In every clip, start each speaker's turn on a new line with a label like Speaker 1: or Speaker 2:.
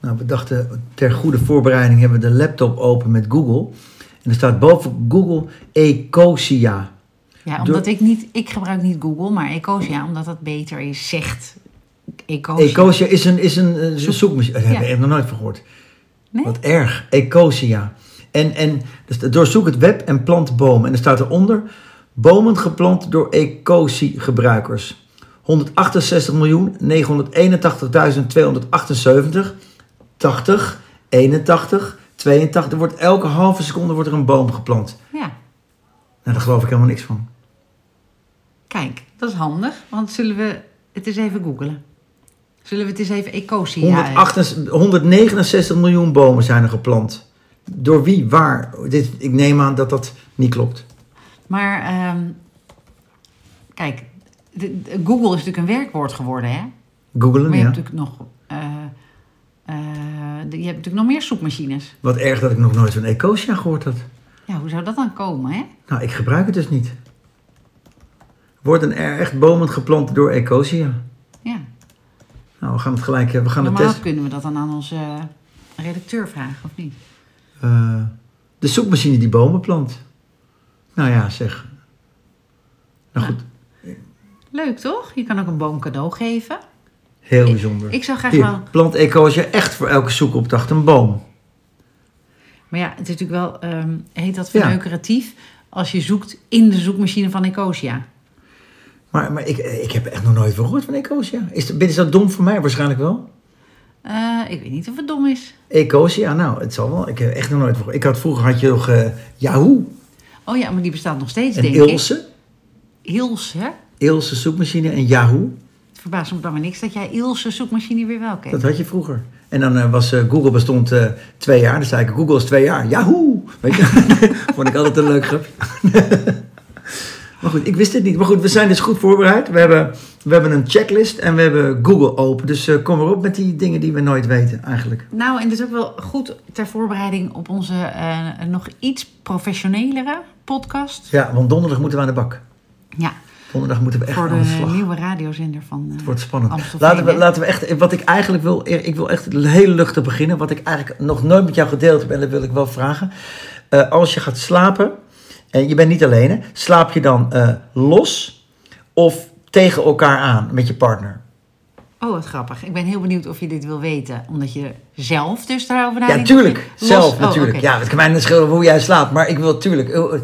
Speaker 1: Nou, we dachten, ter goede voorbereiding hebben we de laptop open met Google. En er staat boven Google Ecosia.
Speaker 2: Ja, omdat ik niet, ik gebruik niet Google, maar Ecosia, omdat dat beter is, zegt Ecosia.
Speaker 1: Ecosia is een, is een eh, zoekmachine. Daar heb
Speaker 2: Ja.
Speaker 1: ik nog nooit van gehoord.
Speaker 2: Nee?
Speaker 1: Wat erg. Ecosia. En, en dus doorzoek het web en plant bomen. En er staat eronder... Bomen geplant door Ecosi-gebruikers. 168.981.278. 80, 81, 82. Er wordt elke halve seconde wordt er een boom geplant.
Speaker 2: Ja,
Speaker 1: Nou, daar geloof ik helemaal niks van.
Speaker 2: kijk, dat is handig, want zullen we het eens even googlen? Zullen we het eens even Ecosia...
Speaker 1: 168 169 miljoen bomen zijn er geplant. Door wie, waar? Dit, ik neem aan dat dat niet klopt.
Speaker 2: Maar ehm, kijk, de- de- Google is natuurlijk een werkwoord geworden, hè? Maar
Speaker 1: Googelen,
Speaker 2: je
Speaker 1: ja.
Speaker 2: hebt natuurlijk nog... eh, eh, de- je hebt natuurlijk nog meer zoekmachines.
Speaker 1: Wat erg dat ik nog nooit van Ecosia gehoord had.
Speaker 2: Ja, hoe zou dat dan komen, hè?
Speaker 1: Nou, ik gebruik het dus niet. Worden er echt bomen geplant door Ecosia?
Speaker 2: Ja,
Speaker 1: Nou, we gaan het gelijk, eh, we gaan het
Speaker 2: normaal
Speaker 1: testen.
Speaker 2: kunnen we dat dan aan onze eh, redacteur vragen, of niet?
Speaker 1: Eh, de zoekmachine die bomen plant. Nou ja, zeg. Nou goed,
Speaker 2: Leuk, toch? Je kan ook een boom cadeau geven.
Speaker 1: heel bijzonder.
Speaker 2: Ik zou graag
Speaker 1: Hier,
Speaker 2: wel...
Speaker 1: plant Ecosia echt voor elke zoekopdracht een boom?
Speaker 2: Maar ja, het is natuurlijk wel... ehm, heet dat
Speaker 1: Ja.
Speaker 2: verneukeratief? Als je zoekt in de zoekmachine van Ecosia.
Speaker 1: Maar, maar ik, ik heb echt nog nooit van gehoord van Ecosia. Is, dat- is dat dom voor mij? Waarschijnlijk wel.
Speaker 2: Eh, ik weet niet of het dom is.
Speaker 1: Ecosia, nou, het zal wel. Ik heb echt nog nooit van gehoord. Ik had vroeger had je nog eh, Yahoo
Speaker 2: Oh ja, maar die bestaat nog steeds,
Speaker 1: en
Speaker 2: denk ik.
Speaker 1: Ilse.
Speaker 2: Ilse, hè?
Speaker 1: Ilse zoekmachine en Yahoo.
Speaker 2: Het verbaast me dan maar niks dat jij Ilse zoekmachine weer wel kent.
Speaker 1: Dat had je vroeger. En dan eh, was eh, Google bestond eh, twee jaar. Dan zei ik, Google is twee jaar. Yahoo! Weet je? Vond ik altijd een leuk grapje. maar goed, ik wist het niet. Maar goed, we zijn dus goed voorbereid. We hebben, we hebben een checklist en we hebben Google open. Dus eh, kom erop met die dingen die we nooit weten eigenlijk.
Speaker 2: Nou, en dit is ook wel goed ter voorbereiding op onze eh, nog iets professionelere podcast.
Speaker 1: Ja, want donderdag moeten we aan de bak.
Speaker 2: Ja,
Speaker 1: Donderdag moeten we echt
Speaker 2: voor
Speaker 1: aan de
Speaker 2: de
Speaker 1: slag.
Speaker 2: nieuwe radiozender van eh,
Speaker 1: Het wordt spannend.
Speaker 2: Amstelveen,
Speaker 1: Laten we,
Speaker 2: hè?
Speaker 1: laten we echt, wat ik eigenlijk wil, ik wil echt heel luchtig beginnen. Wat ik eigenlijk nog nooit met jou gedeeld heb en dat wil ik wel vragen. Eh, als je gaat slapen, en je bent niet alleen, hè, slaap je dan eh, los of tegen elkaar aan met je partner?
Speaker 2: Oh, wat grappig. Ik ben heel benieuwd of je dit wil weten. Omdat je zelf dus daarover
Speaker 1: Ja,
Speaker 2: nadenkt.
Speaker 1: tuurlijk.
Speaker 2: Los-
Speaker 1: Zelf
Speaker 2: oh,
Speaker 1: natuurlijk.
Speaker 2: oké.
Speaker 1: Ja, het kan mij niet schelen hoe jij slaapt, maar ik wil tuurlijk. eh, eh,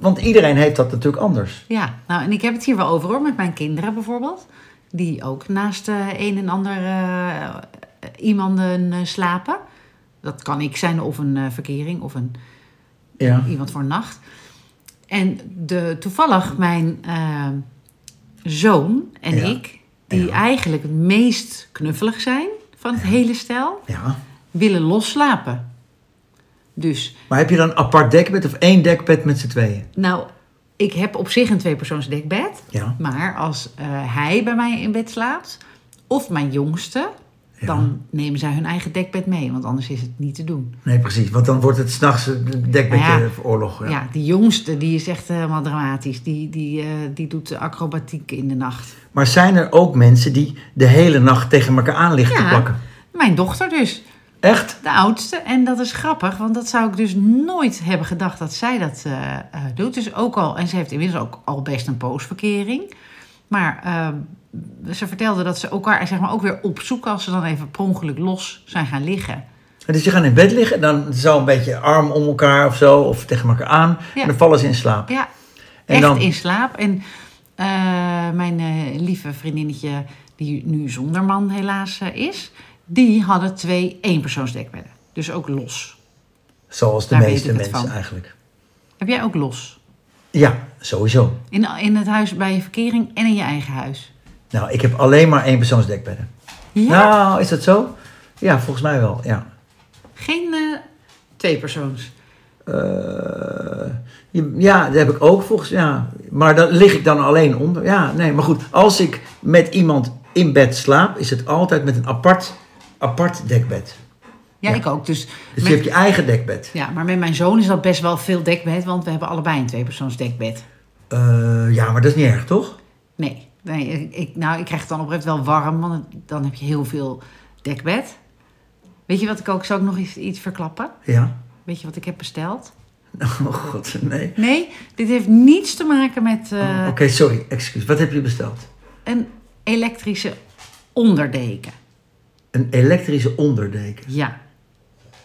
Speaker 1: Want iedereen heeft dat natuurlijk anders.
Speaker 2: Ja, nou, en ik heb het hier wel over hoor, met mijn kinderen bijvoorbeeld. Die ook naast eh, een en ander eh, iemanden eh, slapen. Dat kan ik zijn, of een eh, verkering, of een,
Speaker 1: Ja.
Speaker 2: iemand voor een nacht. En de, toevallig mijn eh, zoon en
Speaker 1: Ja.
Speaker 2: ik, die
Speaker 1: Ja.
Speaker 2: eigenlijk het meest knuffelig zijn van het hele stel,
Speaker 1: ja.
Speaker 2: willen losslapen. Dus,
Speaker 1: Maar heb je dan een apart dekbed of één dekbed met z'n tweeën?
Speaker 2: nou, ik heb op zich een tweepersoons dekbed.
Speaker 1: Ja.
Speaker 2: Maar als eh, hij bij mij in bed slaapt, of mijn jongste,
Speaker 1: Ja.
Speaker 2: dan nemen zij hun eigen dekbed mee. Want anders is het niet te doen.
Speaker 1: Nee, precies. Want dan wordt het s'nachts eh, een
Speaker 2: Maar ja,
Speaker 1: dekbedje voor oorlog.
Speaker 2: Ja, die jongste die is echt helemaal dramatisch. Die, die, eh, die doet de acrobatiek in de nacht.
Speaker 1: Maar zijn er ook mensen die de hele nacht tegen elkaar aan liggen te plakken?
Speaker 2: mijn dochter dus.
Speaker 1: Echt?
Speaker 2: De oudste. En dat is grappig, want dat zou ik dus nooit hebben gedacht dat zij dat eh, eh, doet. Dus ook al, en ze heeft inmiddels ook al best een poosverkering. Maar eh, ze vertelde dat ze elkaar zeg maar, ook weer opzoeken als ze dan even per ongeluk los zijn gaan liggen.
Speaker 1: Dus je gaat in bed liggen en dan zo een beetje arm om elkaar of zo, of tegen elkaar aan.
Speaker 2: Ja.
Speaker 1: En dan vallen ze in slaap.
Speaker 2: Ja,
Speaker 1: En
Speaker 2: echt
Speaker 1: dan-
Speaker 2: in slaap. En eh, mijn eh, lieve vriendinnetje, die nu zonder man helaas eh, is, die hadden twee eenpersoonsdekbedden. Dus ook los.
Speaker 1: Zoals de
Speaker 2: Daar weet
Speaker 1: meeste
Speaker 2: ik het
Speaker 1: mensen
Speaker 2: van.
Speaker 1: eigenlijk.
Speaker 2: Heb jij ook los?
Speaker 1: Ja, sowieso.
Speaker 2: In, in het huis bij je verkering en in je eigen huis.
Speaker 1: Nou, ik heb alleen maar één persoonsdekbedden.
Speaker 2: Ja,
Speaker 1: Nou, is dat zo? Ja, volgens mij wel. Ja.
Speaker 2: geen eh, tweepersoons.
Speaker 1: Eh, je- ja, dat heb ik ook volgens ja. Maar dan lig ik dan alleen onder. Ja, nee, maar goed. Als ik met iemand in bed slaap, is het altijd met een apart, apart dekbed.
Speaker 2: Ja,
Speaker 1: Ja.
Speaker 2: ik ook. Dus
Speaker 1: Dus
Speaker 2: met-
Speaker 1: je hebt je eigen dekbed.
Speaker 2: ja, maar met mijn zoon is dat best wel veel dekbed, want we hebben allebei een tweepersoonsdekbed.
Speaker 1: Eh, ja, maar dat is niet erg, toch?
Speaker 2: Nee, nee ik, ik- nou, ik krijg het dan op een gegeven moment wel warm, want het- dan heb je heel veel dekbed. Weet je wat ik ook, zal ik nog iets, iets verklappen?
Speaker 1: Ja.
Speaker 2: Weet je wat ik heb besteld?
Speaker 1: Oh god, nee.
Speaker 2: Nee, dit heeft niets te maken met eh,
Speaker 1: Oh, Oké, sorry, excuus. Wat heb je besteld?
Speaker 2: een elektrische onderdeken.
Speaker 1: Een elektrische onderdeken.
Speaker 2: Ja.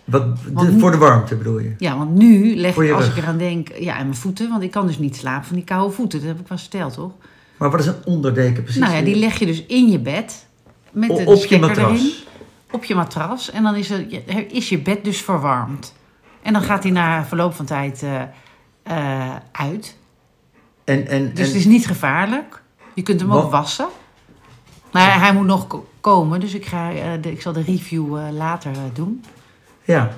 Speaker 1: Wat,
Speaker 2: Want
Speaker 1: de,
Speaker 2: nu-
Speaker 1: voor de warmte bedoel je?
Speaker 2: ja, want nu leg
Speaker 1: Voor
Speaker 2: ik,
Speaker 1: je
Speaker 2: als
Speaker 1: rug.
Speaker 2: ik eraan denk, ja, en mijn voeten, want ik kan dus niet slapen van die koude voeten. Dat heb ik wel eens verteld, toch?
Speaker 1: Maar wat is een onderdeken precies?
Speaker 2: nou ja, die leg je dus in je bed met
Speaker 1: O-
Speaker 2: een
Speaker 1: op je
Speaker 2: stekker
Speaker 1: matras.
Speaker 2: erin. Op je matras. En dan is, er, je- is je bed dus verwarmd. En dan gaat hij na verloop van tijd eh, eh, uit.
Speaker 1: En, en,
Speaker 2: Dus
Speaker 1: en,
Speaker 2: het is niet gevaarlijk. Je kunt hem ook
Speaker 1: Wat-
Speaker 2: wassen. Maar hij moet nog ko- komen, dus ik, ga, eh, de- ik zal de review eh, later eh, doen.
Speaker 1: Ja.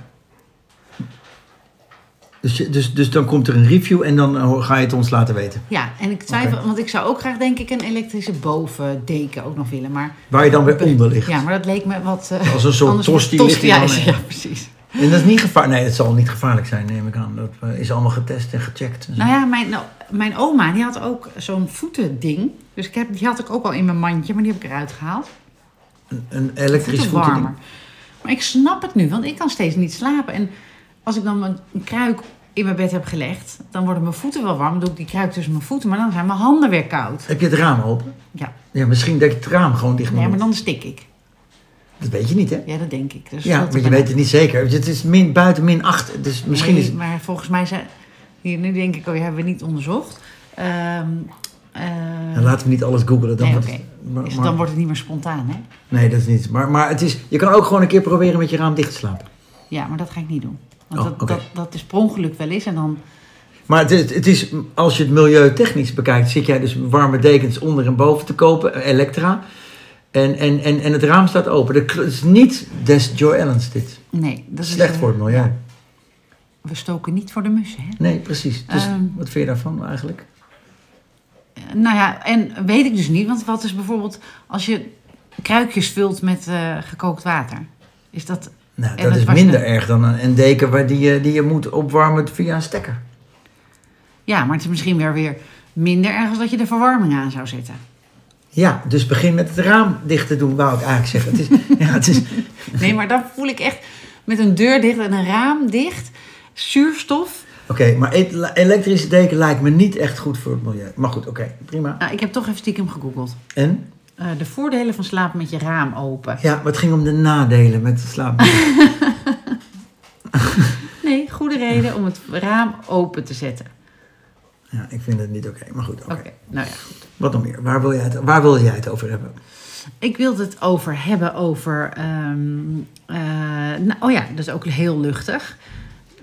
Speaker 1: Dus, je- dus, dus dan komt er een review en dan eh, ga je het ons laten weten.
Speaker 2: Ja, en ik twijfel,
Speaker 1: Oké.
Speaker 2: want ik zou ook graag denk ik een elektrische bovendeken ook nog willen. Maar,
Speaker 1: Waar je dan weer onder ligt.
Speaker 2: ja, maar dat leek me wat... eh,
Speaker 1: Als een soort
Speaker 2: anders voor
Speaker 1: tosti ligt hij
Speaker 2: ja,
Speaker 1: dan
Speaker 2: is-
Speaker 1: in.
Speaker 2: ja, precies.
Speaker 1: En dat is niet gevaarlijk. Nee, het zal niet gevaarlijk zijn, neem ik aan. Dat eh, is allemaal getest en gecheckt. en zo.
Speaker 2: Nou ja, mijn, nou, mijn oma die had ook zo'n voetending. Dus ik heb, die had ik ook al in mijn mandje, maar die heb ik eruit gehaald.
Speaker 1: Een, een elektrisch voetending.
Speaker 2: warmer. Maar ik snap het nu, want ik kan steeds niet slapen. En als ik dan mijn- een kruik in mijn bed heb gelegd, dan worden mijn voeten wel warm. Dan doe ik die kruik tussen mijn voeten, maar dan zijn mijn handen weer koud.
Speaker 1: Heb je het raam open?
Speaker 2: Ja,
Speaker 1: Ja, misschien dat je het raam gewoon dicht moet
Speaker 2: nee, maar
Speaker 1: doen.
Speaker 2: dan stik ik.
Speaker 1: Dat weet je niet, hè?
Speaker 2: Ja, dat denk ik. Dus
Speaker 1: Ja,
Speaker 2: dat-
Speaker 1: want je weet het niet zeker. Het is min, buiten min 8, dus misschien
Speaker 2: Nee,
Speaker 1: is het...
Speaker 2: Maar volgens mij zijn... Hier, nu denk ik, oh, die hebben we niet onderzocht. Ehm, eh,
Speaker 1: Nou, laten we niet alles googlen. Dan,
Speaker 2: nee,
Speaker 1: wordt
Speaker 2: oké.
Speaker 1: het- maar-
Speaker 2: Is-
Speaker 1: maar-
Speaker 2: dan wordt het niet meer spontaan, hè?
Speaker 1: Nee, dat is niet. Maar, maar het is, je kan ook gewoon een keer proberen met je raam dicht te slapen.
Speaker 2: Ja, maar dat ga ik niet doen. Want
Speaker 1: Oh,
Speaker 2: dat,
Speaker 1: oké.
Speaker 2: dat, dat is per ongeluk wel eens en dan...
Speaker 1: Maar het, is- het is, als je het milieutechnisch bekijkt, zit jij dus warme dekens onder en boven te kopen, eh, elektra. En, en, en, en het raam staat open. Dat kl- Het is niet des Joy Allens dit.
Speaker 2: Nee, dat is...
Speaker 1: Slecht
Speaker 2: eh,
Speaker 1: voor het milieu.
Speaker 2: We stoken niet voor de mussen, hè?
Speaker 1: Nee, precies. Dus
Speaker 2: Ehm.
Speaker 1: wat vind je daarvan eigenlijk?
Speaker 2: Eh, Nou ja, en weet ik dus niet. Want wat is bijvoorbeeld als je kruikjes vult met eh, gekookt water? Is dat...
Speaker 1: Nou,
Speaker 2: En
Speaker 1: dat
Speaker 2: het
Speaker 1: is
Speaker 2: was
Speaker 1: minder
Speaker 2: een-
Speaker 1: erg dan een, een deken waar die, je, die je moet opwarmen via een stekker.
Speaker 2: Ja, maar het is misschien weer weer minder erg als dat je de verwarming aan zou zetten.
Speaker 1: Ja, dus begin met het raam dicht te doen, wou ik eigenlijk zeggen. Het is, ja, het is,
Speaker 2: Nee, maar dan voel ik echt met een deur dicht en een raam dicht. Zuurstof.
Speaker 1: Oké, maar e- elektrische deken lijkt me niet echt goed voor het milieu. Maar goed, oké, prima.
Speaker 2: Nou, ik heb toch even stiekem gegoogeld.
Speaker 1: En?
Speaker 2: Eh, de voordelen van slapen met je raam open.
Speaker 1: Ja, maar het ging om de nadelen met slapen.
Speaker 2: Nee, goede reden om het raam open te zetten.
Speaker 1: ja, ik vind het niet oké, maar goed, oké.
Speaker 2: Oké, nou ja.
Speaker 1: Wat nog meer? Waar wil, jij het, waar wil jij het over hebben?
Speaker 2: Ik wilde het over hebben over. ehm, eh, nou, oh ja, dat is ook heel luchtig.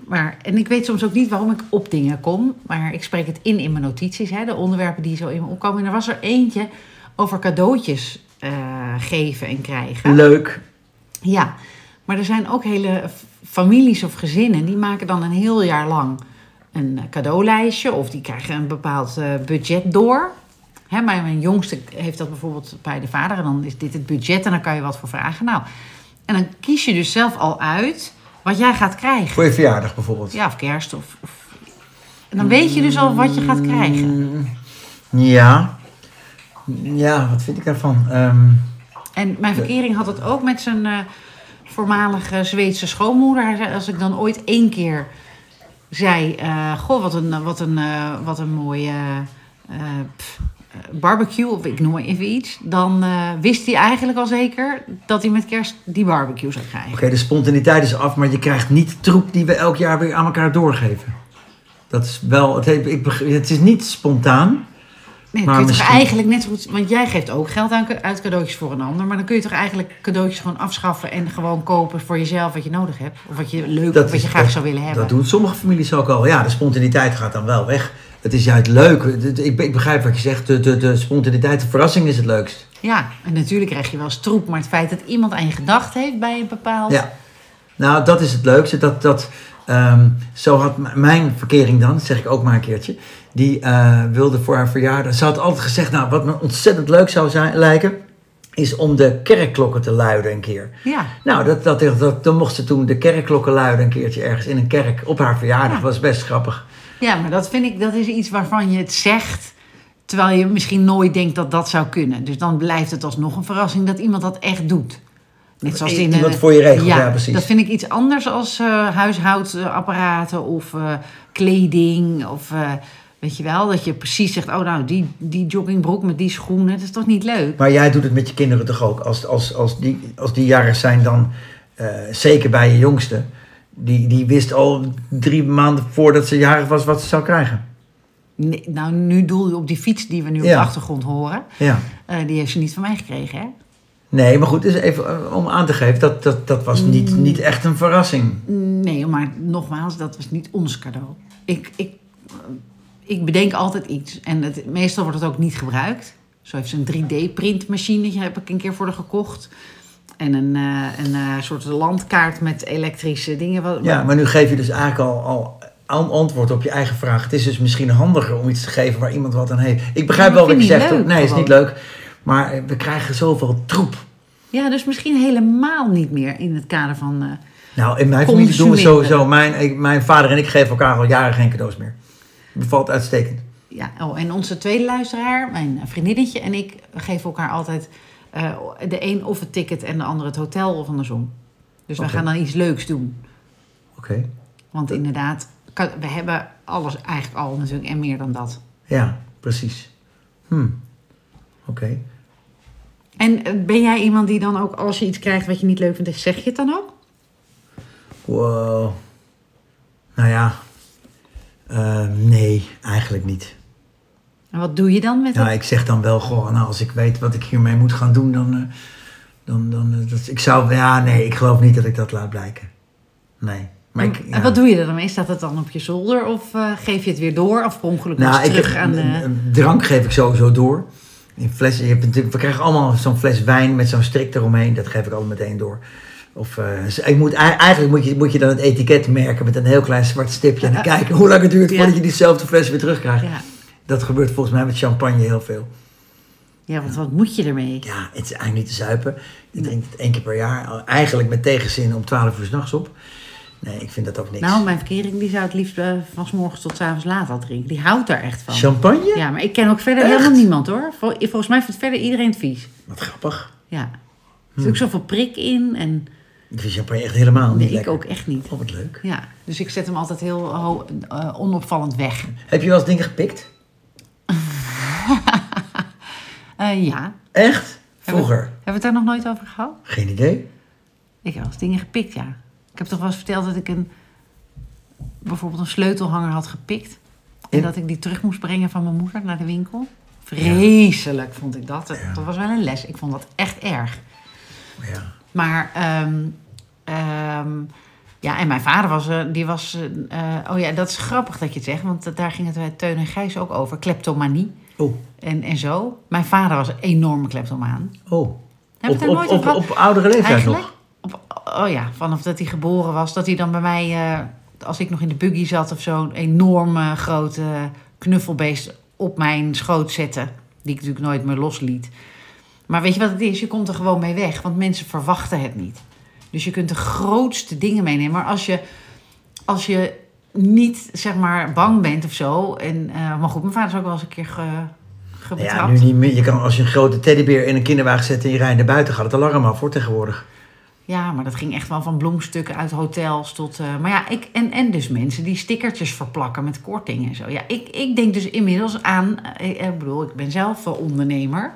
Speaker 2: Maar, en ik weet soms ook niet waarom ik op dingen kom. Maar ik spreek het in in mijn notities, hè, de onderwerpen die zo in me opkomen. En er was er eentje over cadeautjes eh, geven en krijgen.
Speaker 1: Leuk.
Speaker 2: Ja, maar er zijn ook hele f- families of gezinnen die maken dan een heel jaar lang een eh, cadeaulijstje of die krijgen een bepaald eh, budget door. Hè, maar mijn jongste heeft dat bijvoorbeeld bij de vader en dan is dit het budget en dan kan je wat voor vragen. Nou, en dan kies je dus zelf al uit wat jij gaat krijgen.
Speaker 1: Voor je verjaardag bijvoorbeeld.
Speaker 2: Ja, of kerst of... of... En dan weet je dus al wat je gaat krijgen.
Speaker 1: Mm, Ja. Ja, wat vind ik daarvan? Ehm,
Speaker 2: En mijn verkering had het ook met zijn eh, voormalige Zweedse schoonmoeder. Hij zei, als ik dan ooit één keer zei... eh, goh, wat een, wat een, eh, wat een mooie eh, pff, eh, barbecue, of ik noem maar even iets... dan eh, wist hij eigenlijk al zeker dat hij met kerst die barbecue zou krijgen.
Speaker 1: oké, de spontaniteit is af, maar je krijgt niet troep die we elk jaar weer aan elkaar doorgeven. Dat is wel, het, heeft- ik, beg- het is niet spontaan.
Speaker 2: Nee,
Speaker 1: Maar
Speaker 2: kun je toch
Speaker 1: misschien-
Speaker 2: eigenlijk net zo goed... Want jij geeft ook geld aan, uit cadeautjes voor een ander... maar dan kun je toch eigenlijk cadeautjes gewoon afschaffen... en gewoon kopen voor jezelf wat je nodig hebt. Of wat je leuk, of wat
Speaker 1: is-
Speaker 2: je graag zou willen hebben.
Speaker 1: Dat doen sommige families ook al. Ja, de spontaniteit gaat dan wel weg. Het is juist leuk. De- de- Ik, be- ik begrijp wat je zegt. De, de, de spontaniteit, de verrassing is het leukst.
Speaker 2: Ja, en natuurlijk krijg je wel stroep, maar het feit dat iemand aan je gedacht heeft bij een bepaald.
Speaker 1: Ja. Nou, dat is het leukste. Dat, dat, ehm, zo had m- mijn verkering dan, dat zeg ik ook maar een keertje. Die eh, wilde voor haar verjaardag. Ze had altijd gezegd: Nou, wat me ontzettend leuk zou zijn, lijken. Is om de kerkklokken te luiden een keer.
Speaker 2: Ja.
Speaker 1: Nou, dat, dat, dat, dan mocht ze toen de kerkklokken luiden een keertje ergens in een kerk op haar verjaardag.
Speaker 2: Ja.
Speaker 1: was best grappig.
Speaker 2: ja, maar dat vind ik, dat is iets waarvan je het zegt, terwijl je misschien nooit denkt dat dat zou kunnen. Dus dan blijft het alsnog een verrassing dat iemand dat echt doet. Net zoals
Speaker 1: I-
Speaker 2: in,
Speaker 1: iemand
Speaker 2: eh,
Speaker 1: voor je regelt, ja, precies.
Speaker 2: Dat vind ik iets anders als eh, huishoudapparaten of eh, kleding. Of eh, weet je wel, dat je precies zegt: oh, nou, die, die joggingbroek met die schoenen, dat is toch niet leuk?
Speaker 1: Maar jij doet het met je kinderen toch ook? Als, als, als, die, als die jarig zijn, dan eh, zeker bij je jongste. Die, die wist al drie maanden voordat ze jarig was wat ze zou krijgen.
Speaker 2: Nee, nou, nu doel je op die fiets die we nu op
Speaker 1: Ja.
Speaker 2: de achtergrond horen.
Speaker 1: Ja.
Speaker 2: Eh, die heeft ze niet van mij gekregen, hè?
Speaker 1: Nee, maar goed, dus even eh, om aan te geven, dat, dat, dat was niet,
Speaker 2: Mm.
Speaker 1: niet echt een verrassing.
Speaker 2: Nee, maar nogmaals, dat was niet ons cadeau. Ik, ik, eh, ik bedenk altijd iets. En het, meestal wordt het ook niet gebruikt. Zo heeft ze een 3D-printmachine, heb ik een keer voor haar gekocht. En een, eh, een eh, soort landkaart met elektrische dingen. Wat-
Speaker 1: Ja, maar nu geef je dus eigenlijk al, al een antwoord op je eigen vraag. Het is dus misschien handiger om iets te geven waar iemand wat aan heeft. Ik begrijp
Speaker 2: Ja,
Speaker 1: wel
Speaker 2: dat
Speaker 1: wat je
Speaker 2: vind ik
Speaker 1: zegt.
Speaker 2: niet
Speaker 1: hoor.
Speaker 2: leuk,
Speaker 1: nee, is niet
Speaker 2: gewoon.
Speaker 1: leuk. Maar eh, we krijgen zoveel troep.
Speaker 2: Ja, dus misschien helemaal niet meer in het kader van... eh,
Speaker 1: Nou, in mijn familie doen we
Speaker 2: Consumeren.
Speaker 1: sowieso. Mijn, ik- mijn vader en ik geven elkaar al jaren geen cadeaus meer. Bevalt uitstekend.
Speaker 2: Ja, oh, en onze tweede luisteraar, mijn vriendinnetje en ik geven elkaar altijd eh, de een of het ticket en de ander het hotel of andersom. Dus
Speaker 1: Oké.
Speaker 2: we gaan dan iets leuks doen.
Speaker 1: Oké.
Speaker 2: Want inderdaad, kan- we hebben alles eigenlijk al natuurlijk en meer dan dat.
Speaker 1: Ja, precies. Hm. Oké.
Speaker 2: En eh, ben jij iemand die dan ook als je iets krijgt wat je niet leuk vindt, zeg je het dan ook?
Speaker 1: Wow. Nou ja. Eh, nee, eigenlijk niet.
Speaker 2: En wat doe je dan met
Speaker 1: Ja,
Speaker 2: het?
Speaker 1: ik zeg dan wel gewoon, nou, als ik weet wat ik hiermee moet gaan doen, dan. eh, dan, dan eh, dat, ik zou. Ja, nee, ik geloof niet dat ik dat laat blijken. Nee. Maar ik, ja.
Speaker 2: En eh, wat doe je er dan mee? Staat het dan op je zolder of eh, geef je het weer door? Of per ongeluk nog eens
Speaker 1: Nou, ik
Speaker 2: terug
Speaker 1: heb,
Speaker 2: aan de...
Speaker 1: een- een drank geef ik sowieso door. In flessen, je hebt natuurlijk, we krijgen allemaal zo'n fles wijn met zo'n strik eromheen. Dat geef ik al meteen door. Of, eh, ik moet, ei- eigenlijk moet je, moet je dan het etiket merken met een heel klein zwart stipje. En dan kijken hoe lang het duurt
Speaker 2: Eh, Ja.
Speaker 1: voordat je diezelfde fles weer terugkrijgt.
Speaker 2: ja.
Speaker 1: Dat gebeurt volgens mij met champagne heel veel.
Speaker 2: ja, want wat moet je ermee?
Speaker 1: Ja, het is eigenlijk niet te zuipen. Ik drink het één keer per jaar. Eigenlijk met tegenzin om 12 uur s'nachts op. Nee, ik vind dat ook niks.
Speaker 2: Nou, mijn verkering die zou het liefst eh, van 's morgens tot 's avonds laat al drinken. Die houdt daar echt van.
Speaker 1: Champagne?
Speaker 2: Ja, maar ik ken ook verder
Speaker 1: Echt?
Speaker 2: helemaal niemand hoor. Vol- volgens mij vindt verder iedereen het vies.
Speaker 1: Wat grappig.
Speaker 2: Ja. Er zit
Speaker 1: Hm.
Speaker 2: ook zoveel prik in en
Speaker 1: Ik vind champagne echt helemaal niet
Speaker 2: nee, ik
Speaker 1: lekker.
Speaker 2: ook echt niet.
Speaker 1: Oh, wat leuk.
Speaker 2: Ja, dus ik zet hem altijd heel ho- eh, onopvallend weg.
Speaker 1: Heb je wel eens dingen gepikt?
Speaker 2: Eh, ja.
Speaker 1: Echt?
Speaker 2: Hebben we-
Speaker 1: Vroeger?
Speaker 2: Hebben we het daar nog nooit over gehad?
Speaker 1: Geen idee.
Speaker 2: Ik heb wel eens dingen gepikt, ja. Ik heb toch wel eens verteld dat ik een, bijvoorbeeld een sleutelhanger had gepikt. En
Speaker 1: En?
Speaker 2: dat ik die terug moest brengen van mijn moeder naar de winkel. Vreselijk vond ik dat. Dat, dat was wel een les. Ik vond dat echt erg.
Speaker 1: Maar Ja.
Speaker 2: Maar, ehm, ehm, ja, en mijn vader was, eh, die was, eh, eh, oh ja, dat is grappig dat je het zegt, want dat- daar ging het bij Teun en Gijs ook over, kleptomanie
Speaker 1: Oh,
Speaker 2: en, en zo. Mijn vader was een enorme kleptomaan.
Speaker 1: oh.
Speaker 2: Heb
Speaker 1: op,
Speaker 2: je daar
Speaker 1: op,
Speaker 2: nooit
Speaker 1: op,
Speaker 2: over
Speaker 1: op oudere leeftijd nog?
Speaker 2: Op, oh ja, vanaf dat hij geboren was, dat hij dan bij mij, eh, als ik nog in de buggy zat of zo, een enorme eh, grote knuffelbeest op mijn schoot zette. Die ik natuurlijk nooit meer losliet. Maar weet je wat het is? Je komt er gewoon mee weg, want mensen verwachten het niet. Dus je kunt de grootste dingen meenemen. Maar als je, als je niet, zeg maar, bang bent of zo. En, eh, maar goed, mijn vader is ook wel eens een keer ge,
Speaker 1: Nou
Speaker 2: gebetrapt.
Speaker 1: Ja, nu niet meer. Je kan als je een grote teddybeer in een kinderwagen zet en je rijdt naar buiten, gaat het alarm af voor tegenwoordig.
Speaker 2: Ja, maar dat ging echt wel van bloemstukken uit hotels tot. eh, maar ja, ik, en, en dus mensen die stickertjes verplakken met korting en zo. Ja, ik, ik denk dus inmiddels aan. eh, eh, ik bedoel, ik ben zelf wel ondernemer.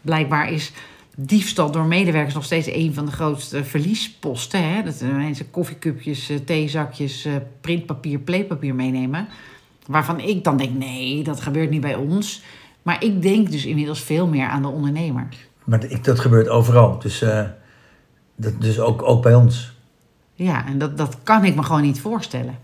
Speaker 2: Blijkbaar is diefstal door medewerkers nog steeds een van de grootste verliesposten. Hè? Dat eh, mensen koffiecupjes, eh, theezakjes, eh, printpapier, pleepapier meenemen. Waarvan ik dan denk: nee, dat gebeurt niet bij ons. Maar ik denk dus inmiddels veel meer aan de ondernemer.
Speaker 1: Maar ik, dat gebeurt overal. Dus, eh, dat, dus ook, ook bij ons.
Speaker 2: Ja, en dat, dat kan ik me gewoon niet voorstellen.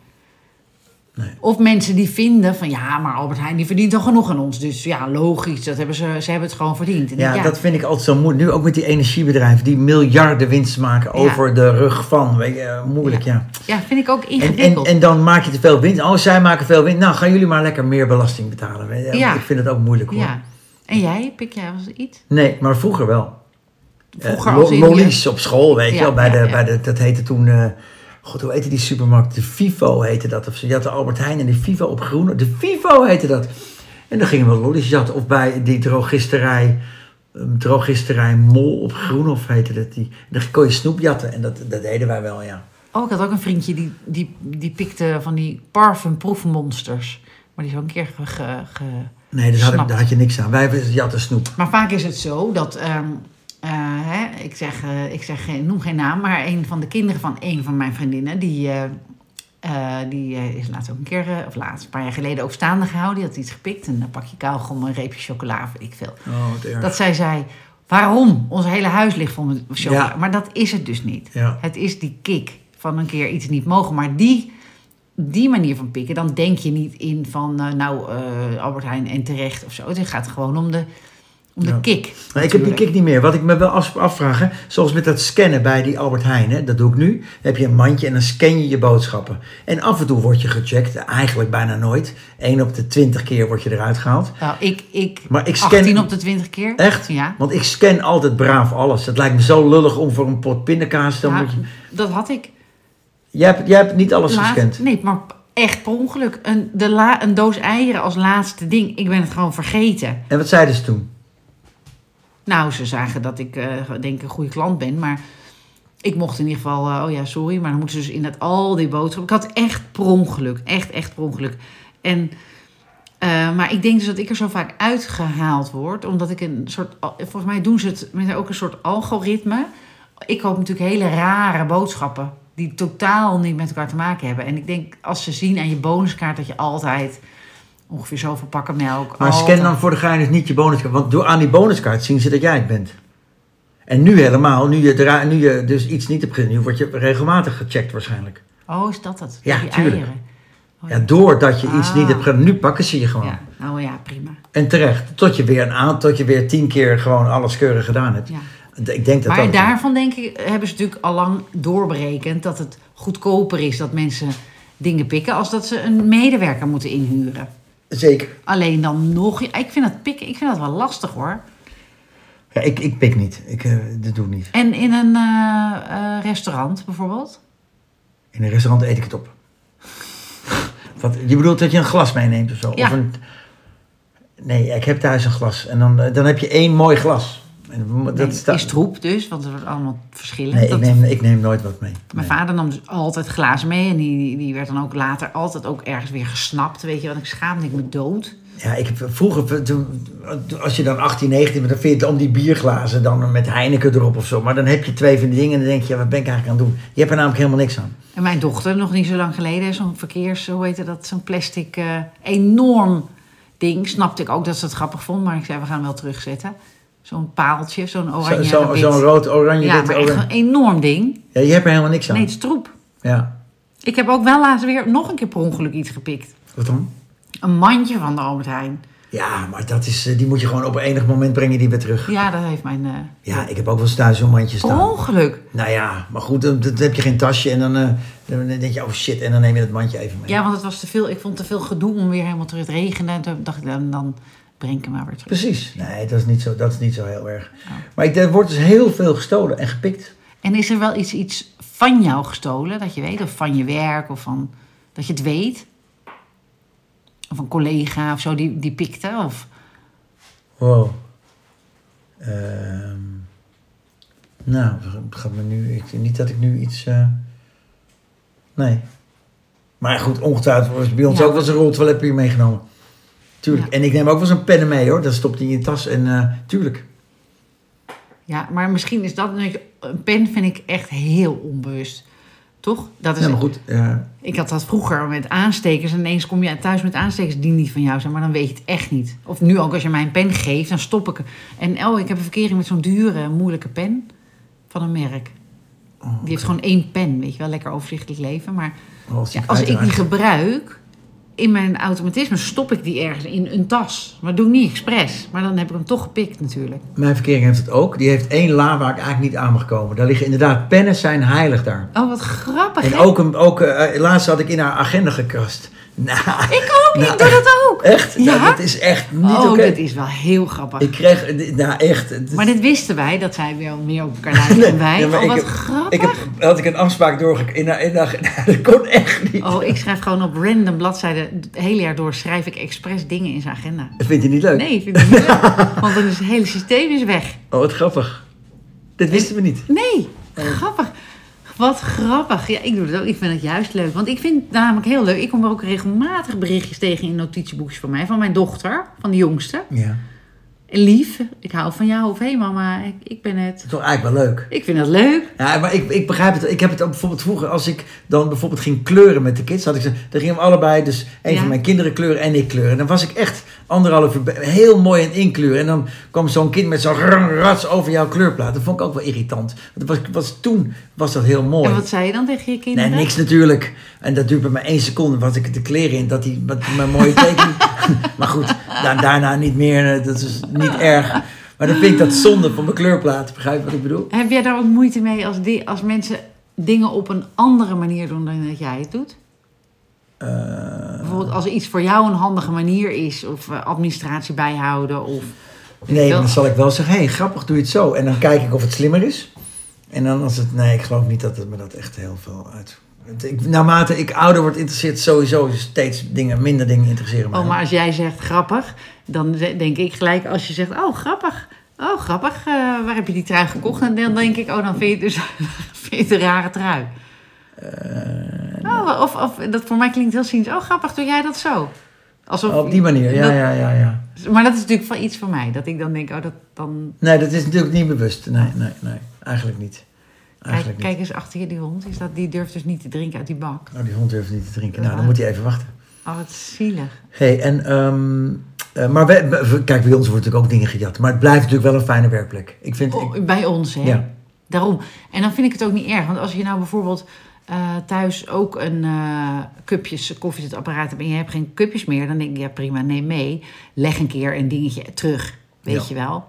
Speaker 1: Nee.
Speaker 2: Of mensen die vinden van ja, maar Albert Heijn die verdient al genoeg aan ons. Dus ja, logisch, dat hebben ze, ze hebben het gewoon verdiend. En
Speaker 1: Ja,
Speaker 2: ik,
Speaker 1: dat vind ik altijd zo moeilijk. Nu ook met die energiebedrijven die miljarden winst maken
Speaker 2: Ja.
Speaker 1: over de rug van. Weet je, eh, moeilijk, ja.
Speaker 2: ja, vind ik ook
Speaker 1: En, en,
Speaker 2: ingewikkeld.
Speaker 1: en dan maak je te veel winst. Oh, zij maken veel winst. Nou, gaan jullie maar lekker meer belasting betalen. Weet je, want
Speaker 2: Ja.
Speaker 1: Ik vind het ook moeilijk hoor.
Speaker 2: ja. en jij, pik jij was iets?
Speaker 1: Nee, maar vroeger wel. Eh,
Speaker 2: Vroeger
Speaker 1: lo-
Speaker 2: als in je-
Speaker 1: lollies op school, weet je
Speaker 2: Ja,
Speaker 1: wel. Bij
Speaker 2: ja,
Speaker 1: de,
Speaker 2: ja.
Speaker 1: Bij de, dat heette toen... eh, God, hoe heette die supermarkt? De Vivo heette dat. Of zo. Je had de Albert Heijn en de Vivo op Groene. De Vivo heette dat. En dan gingen we lollies jatten. Of bij die drogisterij een drogisterij Mol op Groenhof heette dat. Die, daar kon je snoep jatten en dat, dat deden wij wel, ja.
Speaker 2: Oh, ik had ook een vriendje die, die, die pikte van die parfumproefmonsters. Maar die is ook een keer ge, ge- ge-
Speaker 1: Nee, dus had ik-
Speaker 2: Snap.
Speaker 1: daar had je niks aan. Wij jatten snoep.
Speaker 2: Maar vaak is het zo dat, ehm, eh, hè, ik, zeg, eh, ik zeg, geen- noem geen naam, maar een van de kinderen van een van mijn vriendinnen, die, eh, eh, die eh, is laatst ook een keer, eh, of laatst, een paar jaar geleden ook staande gehouden. Die had iets gepikt, een pakje kauwgom, een reepje chocola, weet ik veel.
Speaker 1: Oh, wat erg.
Speaker 2: Dat zij zei, waarom? Ons hele huis ligt vol met chocola.
Speaker 1: Ja.
Speaker 2: Maar dat is het dus niet.
Speaker 1: Ja.
Speaker 2: Het is die kick van een keer iets niet mogen. Maar die, die manier van pikken, dan denk je niet in van... eh, nou, eh, Albert Heijn en terecht of zo. Het gaat gewoon om de, om de
Speaker 1: Ja. Maar ik
Speaker 2: kick.
Speaker 1: heb die
Speaker 2: natuurlijk.
Speaker 1: kick niet meer. Wat ik me wel af, afvraag, hè, zoals met dat scannen bij die Albert Heijn, hè, dat doe ik nu. Dan heb je een mandje en dan scan je je boodschappen. En af en toe word je gecheckt, eigenlijk bijna nooit. 1 op de 20 keer word je eruit gehaald.
Speaker 2: Nou, ik, ik,
Speaker 1: Maar ik scan-
Speaker 2: 18 op de 20 keer.
Speaker 1: Echt?
Speaker 2: Ja.
Speaker 1: Want ik scan altijd braaf alles. Het lijkt me zo lullig om voor een pot pindakaas te...
Speaker 2: Ja,
Speaker 1: moet je-
Speaker 2: dat had ik.
Speaker 1: Jij, hebt, jij hebt niet alles
Speaker 2: Laat-
Speaker 1: gescand.
Speaker 2: Nee, maar echt per ongeluk. Een, de la, een doos eieren als laatste ding. Ik ben het gewoon vergeten.
Speaker 1: En wat zeiden ze toen?
Speaker 2: Nou, ze zagen dat ik eh, denk ik een goede klant ben, maar ik mocht in ieder geval, eh, oh ja, sorry, maar dan moeten ze dus inderdaad al die boodschappen. Ik had echt per ongeluk, echt, echt per ongeluk. En, eh, maar ik denk dus dat ik er zo vaak uitgehaald word, omdat ik een soort, al- volgens mij doen ze het met ook een soort algoritme. Ik koop natuurlijk hele rare boodschappen die totaal niet met elkaar te maken hebben. En ik denk, als ze zien aan je bonuskaart dat je altijd ongeveer zoveel pakken melk.
Speaker 1: Maar
Speaker 2: altijd-
Speaker 1: scan dan voor de gein dus niet je bonuskaart. Want door aan die bonuskaart zien ze dat jij het bent. En nu helemaal, nu je, dra- nu je dus iets niet hebt gedaan, nu word je regelmatig gecheckt waarschijnlijk.
Speaker 2: Oh, is dat het?
Speaker 1: Ja,
Speaker 2: die
Speaker 1: tuurlijk.
Speaker 2: eieren. Oh,
Speaker 1: Ja, doordat je iets
Speaker 2: Ah.
Speaker 1: niet hebt gedaan, nu pakken ze je gewoon.
Speaker 2: Ja, nou ja, prima.
Speaker 1: En terecht, tot je weer een aan, tot je weer tien keer gewoon alles keurig gedaan hebt.
Speaker 2: Ja.
Speaker 1: Ik denk dat
Speaker 2: Maar
Speaker 1: dat...
Speaker 2: daarvan denk ik, hebben ze natuurlijk al lang doorberekend dat het goedkoper is dat mensen dingen pikken als dat ze een medewerker moeten inhuren.
Speaker 1: Zeker.
Speaker 2: Alleen dan nog, ik vind dat pikken, ik vind dat wel lastig hoor.
Speaker 1: Ja, ik, ik pik niet. Ik, eh, dat doe ik niet.
Speaker 2: En in een eh, eh, restaurant bijvoorbeeld?
Speaker 1: In een restaurant eet ik het op. Wat, je bedoelt dat je een glas meeneemt of zo?
Speaker 2: Ja.
Speaker 1: Of een, nee, ik heb thuis een glas. En dan, eh, dan heb je één mooi glas. En dat
Speaker 2: Nee,
Speaker 1: staat-
Speaker 2: is troep dus, want er wordt allemaal verschillend.
Speaker 1: Nee, ik
Speaker 2: Dat-
Speaker 1: neem, ik neem nooit wat mee.
Speaker 2: Mijn
Speaker 1: Nee.
Speaker 2: vader nam dus altijd glazen mee en die, die, die werd dan ook later altijd ook ergens weer gesnapt. Weet je, want ik schaamde ik me dood.
Speaker 1: Ja, ik heb vroeger, toen- als je dan 18, 19 bent, dan vind je het om die bierglazen dan met Heineken erop of zo. Maar dan heb je twee van die dingen en dan denk je, ja, wat ben ik eigenlijk aan het doen? Je hebt er namelijk helemaal niks aan.
Speaker 2: En mijn dochter, nog niet zo lang geleden, zo'n verkeers, hoe heette dat, zo'n plastic eh, enorm ding. Snapte ik ook dat ze het grappig vond, maar ik zei, we gaan wel terugzetten. Zo'n paaltje, zo'n
Speaker 1: Zo-
Speaker 2: oranje
Speaker 1: zo- Zo'n
Speaker 2: wit.
Speaker 1: rood, oranje,
Speaker 2: Ja,
Speaker 1: dit,
Speaker 2: maar echt
Speaker 1: oranje.
Speaker 2: een enorm ding.
Speaker 1: Ja, je hebt er helemaal niks aan.
Speaker 2: Nee, het is troep.
Speaker 1: Ja.
Speaker 2: Ik heb ook wel laatst weer nog een keer per ongeluk iets gepikt.
Speaker 1: Wat dan?
Speaker 2: Een mandje van de Albert Heijn.
Speaker 1: Ja, maar dat is, eh, die moet je gewoon op enig moment brengen die weer terug.
Speaker 2: Ja, dat heeft mijn... eh,
Speaker 1: Ja, ik heb ook wel eens thuis zo'n mandje
Speaker 2: per
Speaker 1: staan.
Speaker 2: ongeluk.
Speaker 1: Nou ja, maar goed, dan, dan heb je geen tasje en dan, eh, dan denk je, oh shit, en dan neem je dat mandje even mee.
Speaker 2: Ja, want het was te veel. Ik vond te veel gedoe om weer helemaal terug te regenen. En toen dacht ik, dan, dan breng ik hem maar weer terug.
Speaker 1: Precies. Nee, dat is niet zo, dat is niet zo heel erg.
Speaker 2: Oh.
Speaker 1: Maar ik, er wordt dus heel veel gestolen en gepikt.
Speaker 2: En is er wel iets, iets van jou gestolen dat je weet? Of van je werk of van dat je het weet? Of een collega of zo die, die pikte? Of...
Speaker 1: Wow. Ehm, nou, het gaat me nu, ik, niet dat ik nu iets... eh, nee. Maar goed, ongetwijfeld was bij ons
Speaker 2: Ja.
Speaker 1: ook wel eens een roltoiletpapier meegenomen. Tuurlijk.
Speaker 2: Ja.
Speaker 1: En ik neem ook wel eens een pennen mee hoor. Dat stopt hij in je tas en eh, tuurlijk.
Speaker 2: Ja, maar misschien is dat een pen vind ik echt heel onbewust. Toch? Dat is,
Speaker 1: Ja, maar goed. eh,
Speaker 2: Ik had dat vroeger met aanstekers. En ineens kom je thuis met aanstekers die niet van jou zijn. Maar dan weet je het echt niet. Of nu ook als je mij een pen geeft, dan stop ik. En oh, ik heb een verkering met zo'n dure, moeilijke pen. Van een merk.
Speaker 1: oh,
Speaker 2: Die heeft gewoon één pen. Weet je wel, lekker overzichtelijk leven. Maar
Speaker 1: als,
Speaker 2: Ja,
Speaker 1: ik
Speaker 2: als ik die
Speaker 1: uiteraard-
Speaker 2: gebruik, in mijn automatisme stop ik die ergens in een tas. Maar doe ik niet expres. Maar dan heb ik hem toch gepikt natuurlijk.
Speaker 1: Mijn verkering heeft het ook. Die heeft één la waar ik eigenlijk niet aan mag komen. Daar liggen inderdaad, pennen zijn heilig daar.
Speaker 2: Oh, wat grappig.
Speaker 1: En
Speaker 2: hè?
Speaker 1: ook, een, ook eh, eh, laatst had ik in haar agenda gekrast. Nou,
Speaker 2: Ik ook,
Speaker 1: Nou,
Speaker 2: ik doe dat ook.
Speaker 1: echt? Nou,
Speaker 2: Ja?
Speaker 1: dat is echt niet
Speaker 2: oh,
Speaker 1: oké.
Speaker 2: dat is wel heel grappig.
Speaker 1: Ik kreeg, nou echt. het-
Speaker 2: Maar dit wisten wij, dat zij wel meer op elkaar lijken dan wij.
Speaker 1: Nee, maar
Speaker 2: oh,
Speaker 1: ik
Speaker 2: wat
Speaker 1: heb-
Speaker 2: grappig.
Speaker 1: Ik heb, had ik een afspraak doorgek... In, in, in- dat kon echt niet.
Speaker 2: Oh, ik schrijf gewoon op random bladzijden. Het hele jaar door schrijf ik expres dingen in zijn agenda.
Speaker 1: Dat vind je niet leuk?
Speaker 2: Nee, vind ik niet leuk. Want dan is het hele systeem is weg.
Speaker 1: Oh, wat grappig. Dit wisten we niet.
Speaker 2: Nee,
Speaker 1: Oh.
Speaker 2: grappig. Wat grappig. Ja, ik doe het ook. Ik vind het juist leuk. Want ik vind het namelijk heel leuk. Ik kom er ook regelmatig berichtjes tegen in notitieboekjes van mij. Van mijn dochter, van de jongste.
Speaker 1: Ja.
Speaker 2: Lief, ik hou van jou. Of hé hey mama, ik, ik ben het.
Speaker 1: Dat is toch eigenlijk wel leuk.
Speaker 2: Ik vind dat leuk.
Speaker 1: Ja, maar ik, ik begrijp het. Ik heb het ook bijvoorbeeld vroeger, als ik dan bijvoorbeeld ging kleuren met de kids, had ik ze, dan gingen we allebei, dus een
Speaker 2: Ja.
Speaker 1: van mijn kinderen kleuren en ik kleuren. En dan was ik echt anderhalf uur be- heel mooi in inkleuren. En dan kwam zo'n kind met zo'n rang rats over jouw kleurplaat. Dat vond ik ook wel irritant. Want dat was, was, toen was dat heel mooi.
Speaker 2: En wat zei je dan tegen je
Speaker 1: Nee,
Speaker 2: kinderen?
Speaker 1: niks natuurlijk. En dat duurt bij mij één seconde. Was ik de kleren in, dat die, met mijn mooie tekening. maar goed, da- daarna niet meer. eh, Dat is niet erg. Maar dan vind ik dat zonde van mijn kleurplaat. Begrijp je wat ik bedoel?
Speaker 2: Heb jij daar ook moeite mee als, die, als mensen dingen op een andere manier doen dan dat jij het doet?
Speaker 1: Eh,
Speaker 2: Bijvoorbeeld als er iets voor jou een handige manier is, of eh, administratie bijhouden, of.
Speaker 1: Nee,
Speaker 2: wel.
Speaker 1: dan zal ik wel zeggen, hé, hey, grappig, doe je het zo. En dan kijk ik of het slimmer is. En dan als het, nee, ik geloof niet dat het me dat echt heel veel uit... Want Ik, naarmate ik ouder word, interesseert sowieso steeds dingen, minder dingen interesseren me.
Speaker 2: Oh, maar als jij zegt grappig, dan ze- denk ik gelijk als je zegt, oh grappig, oh grappig, eh, waar heb je die trui gekocht? En dan denk ik, oh dan vind je het dus vind je het een rare trui.
Speaker 1: Eh,
Speaker 2: oh, of, of dat voor mij klinkt heel cynisch, oh grappig, doe jij dat zo? Alsof,
Speaker 1: Oh, Op die manier, ja,
Speaker 2: dat-
Speaker 1: ja, ja, ja.
Speaker 2: Maar dat is natuurlijk van iets voor mij, dat ik dan denk, oh dat dan...
Speaker 1: Nee, dat is natuurlijk niet bewust. Nee, nee, nee. Eigenlijk niet.
Speaker 2: Kijk,
Speaker 1: Eigenlijk niet.
Speaker 2: kijk eens achter je die hond, is dat, die durft dus niet te drinken uit die bak.
Speaker 1: Oh, die hond durft niet te drinken. Nou, dan
Speaker 2: Ja.
Speaker 1: moet hij even wachten.
Speaker 2: Oh, wat zielig.
Speaker 1: hey, en... ehm, eh, maar wij, we- kijk, bij ons wordt natuurlijk ook dingen gejat. Maar het blijft natuurlijk wel een fijne werkplek. Ik vind... ik-
Speaker 2: Oh, bij ons, hè?
Speaker 1: Ja.
Speaker 2: Daarom. En dan vind ik het ook niet erg. Want als je nou bijvoorbeeld eh, thuis ook een eh cupjes koffiezetapparaat hebt... en je hebt geen cupjes meer, dan denk ik, ja prima, neem mee. Leg een keer een dingetje terug, weet
Speaker 1: Ja.
Speaker 2: je wel.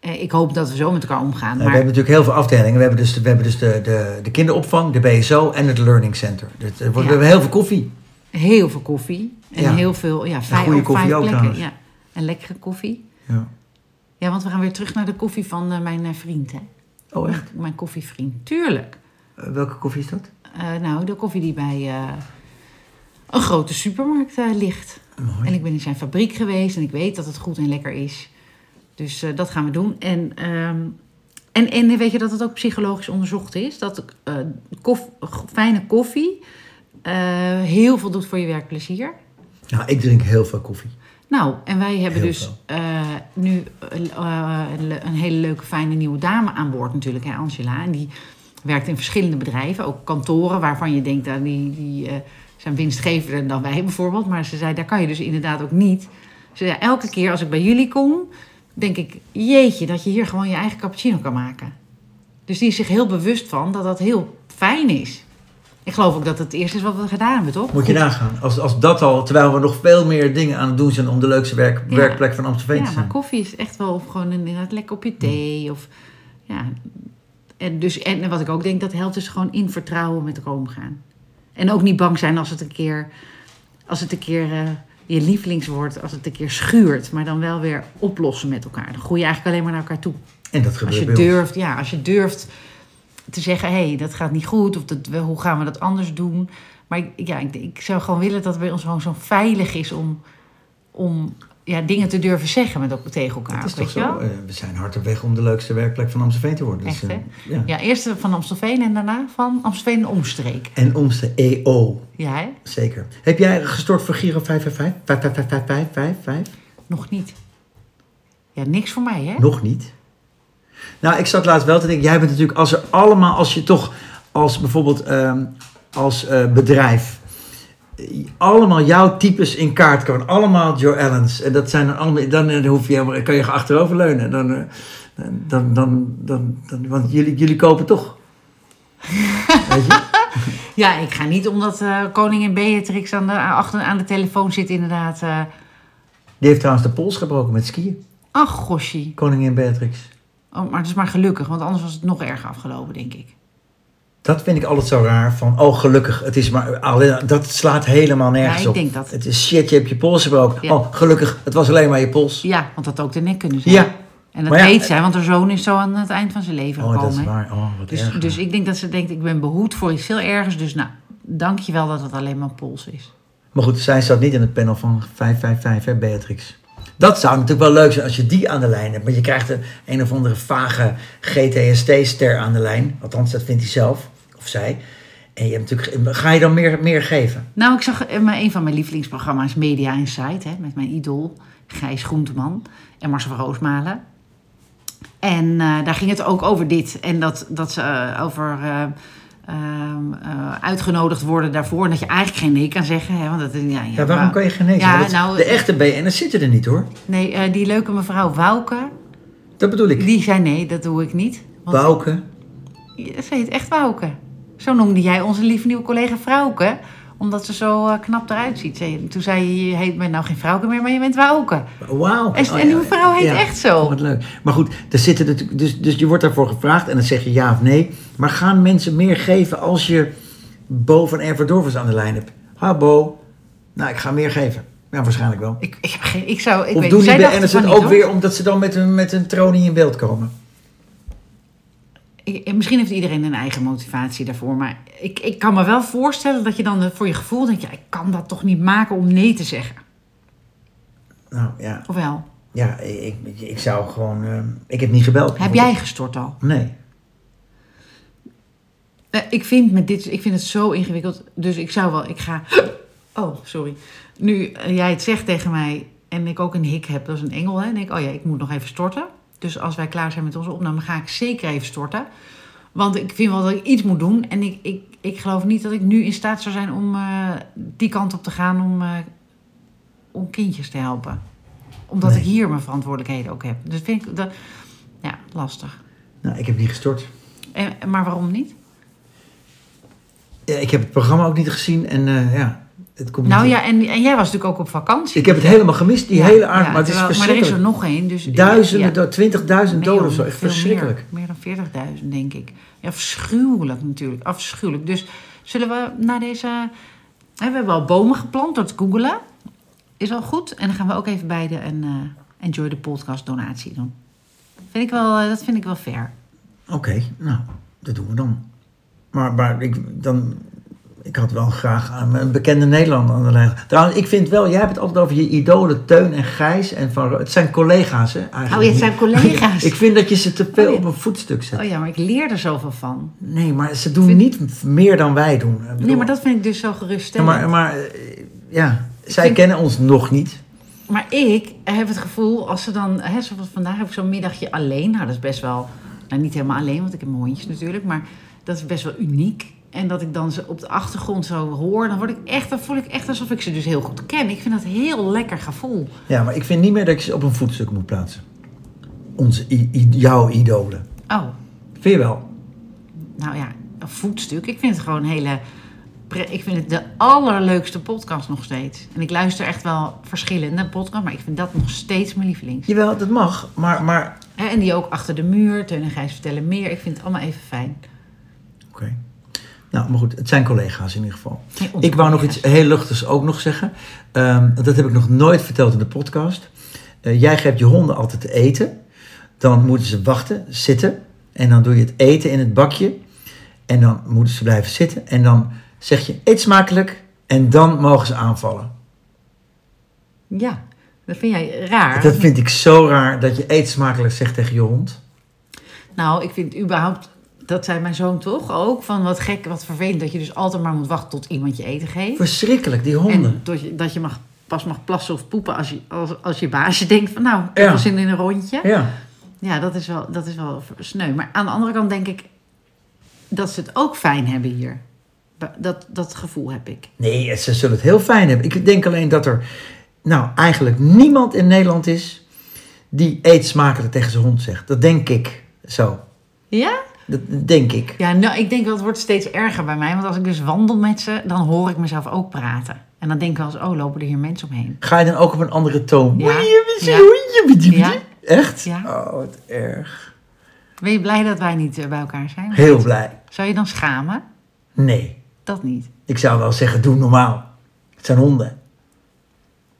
Speaker 2: Eh, ik hoop dat we zo met elkaar omgaan.
Speaker 1: Eh,
Speaker 2: maar
Speaker 1: We hebben natuurlijk heel veel afdelingen. We hebben dus, we hebben dus de, de, de kinderopvang, de BSO en het Learning Center. Dus er wordt, We
Speaker 2: Ja.
Speaker 1: hebben heel veel koffie.
Speaker 2: heel veel koffie. En
Speaker 1: Ja.
Speaker 2: heel veel, ja, vijf,
Speaker 1: goede
Speaker 2: op
Speaker 1: koffie
Speaker 2: vijf
Speaker 1: ook
Speaker 2: plekken.
Speaker 1: trouwens.
Speaker 2: Ja. En lekkere koffie.
Speaker 1: Ja.
Speaker 2: Ja, want we gaan weer terug naar de koffie van eh, mijn eh, vriend, hè.
Speaker 1: Oh, echt?
Speaker 2: Mijn koffievriend. Tuurlijk.
Speaker 1: Eh, welke koffie is dat?
Speaker 2: Eh, nou, de koffie die bij eh, een grote supermarkt eh, ligt.
Speaker 1: Mooi.
Speaker 2: En ik ben in zijn fabriek geweest en ik weet dat het goed en lekker is. Dus eh, dat gaan we doen. En, ehm, en, en weet je dat het ook psychologisch onderzocht is? Dat eh, kof- fijne koffie eh, heel veel doet voor je werkplezier.
Speaker 1: Nou, ik drink heel veel koffie.
Speaker 2: Nou, en wij hebben
Speaker 1: Heel
Speaker 2: dus
Speaker 1: veel.
Speaker 2: eh, nu eh, le- een hele leuke, fijne nieuwe dame aan boord natuurlijk, hè, Angela. En die werkt in verschillende bedrijven, ook kantoren waarvan je denkt, dat die, die eh, zijn winstgevender dan wij bijvoorbeeld. Maar ze zei, daar kan je dus inderdaad ook niet. Ze zei, elke keer als ik bij jullie kom, denk ik, jeetje, dat je hier gewoon je eigen cappuccino kan maken. Dus die is zich heel bewust van dat dat heel fijn is. Ik geloof ook dat het eerst is wat we gedaan hebben, toch?
Speaker 1: Moet je nagaan. Als, als dat al, terwijl we nog veel meer dingen aan het doen zijn om de leukste werk,
Speaker 2: Ja.
Speaker 1: werkplek van Amsterdam te
Speaker 2: Ja, maar
Speaker 1: zijn.
Speaker 2: koffie is echt wel of gewoon inderdaad lekker op je thee. Of, ja. en, dus, en wat ik ook denk, dat helpt is gewoon in vertrouwen met elkaar omgaan. En ook niet bang zijn als het een keer, als het een keer eh, je lievelingswoord, als het een keer schuurt. Maar dan wel weer oplossen met elkaar. Dan groei je eigenlijk alleen maar naar elkaar toe.
Speaker 1: En dat
Speaker 2: Als
Speaker 1: gebeurt
Speaker 2: je
Speaker 1: bij ons.
Speaker 2: durft, ja, als je durft te zeggen, hé, hey, dat gaat niet goed. Of dat, we- hoe gaan we dat anders doen? Maar ik, ja, ik, ik zou gewoon willen dat het bij ons gewoon zo veilig is om, om ja, dingen te durven zeggen met, elk- tegen elkaar.
Speaker 1: Dat is
Speaker 2: weet
Speaker 1: toch
Speaker 2: je wel?
Speaker 1: zo? Eh, we zijn hard op weg om de leukste werkplek van Amsterdam te worden.
Speaker 2: Echt,
Speaker 1: eh,
Speaker 2: hè?
Speaker 1: ja.
Speaker 2: Ja, eerst van Amstelveen en daarna van Amstelveen en omstreek.
Speaker 1: En ons de EO,
Speaker 2: Ja, hè?
Speaker 1: zeker. Heb jij gestort voor Giro 555? 555?
Speaker 2: Nog niet. Ja, niks voor mij, hè?
Speaker 1: Nog niet. Nou, ik zat laatst wel te denken. Jij bent natuurlijk als er allemaal, als je toch als bijvoorbeeld ehm, als eh, bedrijf eh, allemaal jouw types in kaart kan, allemaal Joe Allens. En dat zijn dan allemaal, dan eh, hoef je helemaal, kan je achteroverleunen. Dan, eh, dan, dan, dan, dan, dan- want jullie, jullie kopen toch. Weet je?
Speaker 2: Ja, ik ga niet omdat eh, koningin Beatrix aan de, eh, achter, aan de telefoon zit inderdaad. eh
Speaker 1: Die heeft trouwens de pols gebroken met skiën.
Speaker 2: ach, goshie.
Speaker 1: Koningin Beatrix.
Speaker 2: Oh, maar het is maar gelukkig, want anders was het nog erger afgelopen, denk ik.
Speaker 1: Dat vind ik altijd zo raar. Van, oh gelukkig, het is maar, alleen, dat slaat helemaal nergens
Speaker 2: Ja, ik
Speaker 1: op.
Speaker 2: denk dat-
Speaker 1: Het is shit, je hebt je pols gebroken.
Speaker 2: Ja.
Speaker 1: Oh, gelukkig, het was alleen maar je pols.
Speaker 2: Ja, want dat had ook de nek kunnen zijn.
Speaker 1: Ja.
Speaker 2: En dat
Speaker 1: Maar ja, eh,
Speaker 2: weet zij, want haar zoon is zo aan het eind van zijn leven
Speaker 1: Oh,
Speaker 2: gekomen.
Speaker 1: dat is
Speaker 2: hè.
Speaker 1: waar. Oh, wat
Speaker 2: Dus,
Speaker 1: erg.
Speaker 2: dus ik denk dat ze denkt, ik ben behoed voor iets veel ergers. Dus nou, dank je wel dat het alleen maar pols is.
Speaker 1: Maar goed, zij zat niet in het panel van 555, hè, Beatrix. Dat zou natuurlijk wel leuk zijn als je die aan de lijn hebt. Maar je krijgt een, een of andere vage GTST-ster aan de lijn. Althans, dat vindt hij zelf. Of zij. En je hebt natuurlijk, ga je dan meer, meer geven?
Speaker 2: Nou, ik zag eh, maar een van mijn lievelingsprogramma's Media Insight. Hè, met mijn idool Gijs Groenteman en Marcel van Roosmalen. En eh, daar ging het ook over dit. En dat, dat ze eh, over eh, ehm, eh, uitgenodigd worden daarvoor. En dat je eigenlijk geen nee kan zeggen. Hè, want dat, is- ja, ja,
Speaker 1: Ja, waarom
Speaker 2: wou-
Speaker 1: kan je genezen?
Speaker 2: Ja,
Speaker 1: Want het-
Speaker 2: nou,
Speaker 1: de echte BN'ers zitten er niet hoor.
Speaker 2: Nee, eh, die leuke mevrouw Wouke.
Speaker 1: Dat bedoel ik.
Speaker 2: Die zei nee, dat doe ik niet. Want
Speaker 1: Bouke.
Speaker 2: ze heet echt Wouke. Zo noemde jij onze lieve nieuwe collega Vrouwke. Omdat ze zo eh, knap eruit ziet. Zei- Toen zei je, je heet, bent nou geen Vrouwke meer, maar je bent Wouke.
Speaker 1: Wauw.
Speaker 2: En- en die mevrouw heet echt zo.
Speaker 1: oh, Wat leuk. Maar goed, er zitten natuurlijk- dus, dus je wordt daarvoor gevraagd en dan zeg je ja of nee. Maar gaan mensen meer geven als je Bo van Erver Dorfers aan de lijn hebt? Ha Bo, nou ik ga meer geven. Ja, waarschijnlijk wel.
Speaker 2: Ik, ik, heb geen, ik zou, ik
Speaker 1: of
Speaker 2: weet
Speaker 1: doen
Speaker 2: niet,
Speaker 1: die
Speaker 2: zij dachten
Speaker 1: BN'ers
Speaker 2: van
Speaker 1: het
Speaker 2: niet,
Speaker 1: ook
Speaker 2: hoor.
Speaker 1: weer omdat ze dan met een, met een tronie in beeld komen?
Speaker 2: Ik- misschien heeft iedereen een eigen motivatie daarvoor. Maar ik, ik kan me wel voorstellen dat je dan eh, voor je gevoel denkt... ja, ik kan dat toch niet maken om nee te zeggen.
Speaker 1: Nou ja,
Speaker 2: Of wel?
Speaker 1: ja ik, ik, ik zou gewoon... eh, ik heb niet gebeld.
Speaker 2: Heb jij gestort al?
Speaker 1: Nee.
Speaker 2: Eh, Ik vind, met dit, ik vind het zo ingewikkeld. Dus ik zou wel, ik ga. Oh, sorry. Nu eh, jij het zegt tegen mij en ik ook een hik heb, dat is een engel, hè? En ik, oh ja, ik moet nog even storten. Dus als wij klaar zijn met onze opname, ga ik zeker even storten. Want ik vind wel dat ik iets moet doen. En ik, ik, ik geloof niet dat ik nu in staat zou zijn om eh, die kant op te gaan om, eh, om kindjes te helpen. Omdat
Speaker 1: Nee.
Speaker 2: ik hier mijn verantwoordelijkheden ook heb. Dus vind ik dat, ja, lastig.
Speaker 1: Nou, ik heb niet gestort.
Speaker 2: En, maar waarom niet?
Speaker 1: Ja, ik heb het programma ook niet gezien en eh, ja, het komt
Speaker 2: Nou
Speaker 1: niet
Speaker 2: ja, en, en jij was natuurlijk ook op vakantie.
Speaker 1: Ik heb het helemaal gemist, die
Speaker 2: Ja,
Speaker 1: hele aarde.
Speaker 2: ja,
Speaker 1: maar het is
Speaker 2: terwijl-
Speaker 1: verschrikkelijk.
Speaker 2: Maar er is er nog één. Dus,
Speaker 1: Duizenden,
Speaker 2: ja.
Speaker 1: doden, 20.000
Speaker 2: Nee,
Speaker 1: doden of
Speaker 2: joh,
Speaker 1: zo. Echt
Speaker 2: veel
Speaker 1: verschrikkelijk.
Speaker 2: Meer, meer dan 40.000, denk ik. Ja, afschuwelijk natuurlijk. Afschuwelijk. Dus zullen we naar deze... hè, we hebben al bomen geplant door te googelen. Is al goed. En dan gaan we ook even bij de een, eh, Enjoy the Podcast donatie doen. Vind ik wel, eh, dat vind ik wel fair.
Speaker 1: Oké, nou, dat doen we dan. Maar, maar ik, dan, ik had wel graag aan een bekende Nederlander aan de lijn. Trouwens, ik vind wel, jij hebt het altijd over je idolen Teun en Gijs. En van, Ro- het zijn collega's, hè? Eigenlijk.
Speaker 2: Oh, ja, het zijn collega's.
Speaker 1: ik vind dat je ze te veel
Speaker 2: Oh, ja.
Speaker 1: op een voetstuk zet.
Speaker 2: Oh ja, maar ik leer er zoveel van.
Speaker 1: Nee, maar ze doen
Speaker 2: Vind-
Speaker 1: niet v- meer dan wij doen. Ik bedoel,
Speaker 2: Nee, maar dat vind ik dus zo
Speaker 1: ja,
Speaker 2: geruststellend.
Speaker 1: maar, maar, eh, ja, zij
Speaker 2: vind-
Speaker 1: kennen ons nog niet.
Speaker 2: Maar ik heb het gevoel, als ze dan, hè, zoals vandaag heb ik zo'n middagje alleen. Nou, dat is best wel, nou niet helemaal alleen, want ik heb mijn hondjes natuurlijk. Maar dat is best wel uniek. En dat ik dan ze op de achtergrond zo hoor, dan, word ik echt, dan voel ik echt alsof ik ze dus heel goed ken. Ik vind dat een heel lekker gevoel.
Speaker 1: Ja, maar ik vind niet meer dat ik ze op een voetstuk moet plaatsen. Onze, i- i- jouw idolen.
Speaker 2: Oh,
Speaker 1: Vind je wel?
Speaker 2: nou ja, een voetstuk. Ik vind het gewoon een hele... pre- Ik vind het de allerleukste podcast nog steeds. En ik luister echt wel verschillende podcasts, maar ik vind dat nog steeds mijn lievelings.
Speaker 1: Jawel, dat mag. Maar, maar...
Speaker 2: Hè, En die ook achter de muur, Teun en Gijs vertellen meer. Ik vind het allemaal even fijn.
Speaker 1: Oké. Nou, maar goed, het zijn collega's in ieder geval.
Speaker 2: Nee, onze
Speaker 1: Ik wou nog
Speaker 2: collega's.
Speaker 1: iets heel luchtigs ook nog zeggen. Ehm, dat heb ik nog nooit verteld in de podcast. Eh, jij geeft je honden altijd te eten. Dan moeten ze wachten, zitten. En dan doe je het eten in het bakje. En dan moeten ze blijven zitten. En dan zeg je, eet smakelijk. En dan mogen ze aanvallen.
Speaker 2: Ja, dat vind jij raar.
Speaker 1: Dat vind ik zo raar dat je eet smakelijk zegt tegen je hond.
Speaker 2: Nou, ik vind überhaupt, dat zei mijn zoon toch ook, van wat gek, wat vervelend dat je dus altijd maar moet wachten tot iemand je eten geeft.
Speaker 1: Verschrikkelijk, die honden.
Speaker 2: En dat je, dat je mag, pas mag plassen of poepen als je, als, als je baasje denkt van nou, ik heb
Speaker 1: Ja.
Speaker 2: wel zin in een rondje.
Speaker 1: Ja.
Speaker 2: Ja, dat is, wel, dat is wel sneu. Maar aan de andere kant denk ik dat ze het ook fijn hebben hier. Ba- Dat, dat gevoel heb ik.
Speaker 1: Nee, eh, ze zullen het heel fijn hebben. Ik denk alleen dat er nou eigenlijk niemand in Nederland is die eet smakelijk tegen zijn hond zegt. Dat denk ik zo.
Speaker 2: Ja?
Speaker 1: Dat dat denk ik.
Speaker 2: Ja, nou, ik denk wel, het wordt steeds erger bij mij. Want als ik dus wandel met ze, dan hoor ik mezelf ook praten. En dan denk ik wel eens, oh, lopen er hier mensen omheen.
Speaker 1: Ga je dan ook op een andere toon?
Speaker 2: Ja.
Speaker 1: Oei, je bent zo, oei,
Speaker 2: Ja.
Speaker 1: je bent die-
Speaker 2: Ja.
Speaker 1: Echt?
Speaker 2: Ja.
Speaker 1: Oh, wat erg.
Speaker 2: Ben je blij dat wij niet eh, bij elkaar zijn?
Speaker 1: Heel blij.
Speaker 2: Zou je dan schamen?
Speaker 1: Nee.
Speaker 2: Dat niet.
Speaker 1: Ik zou wel zeggen, doe normaal. Het zijn honden.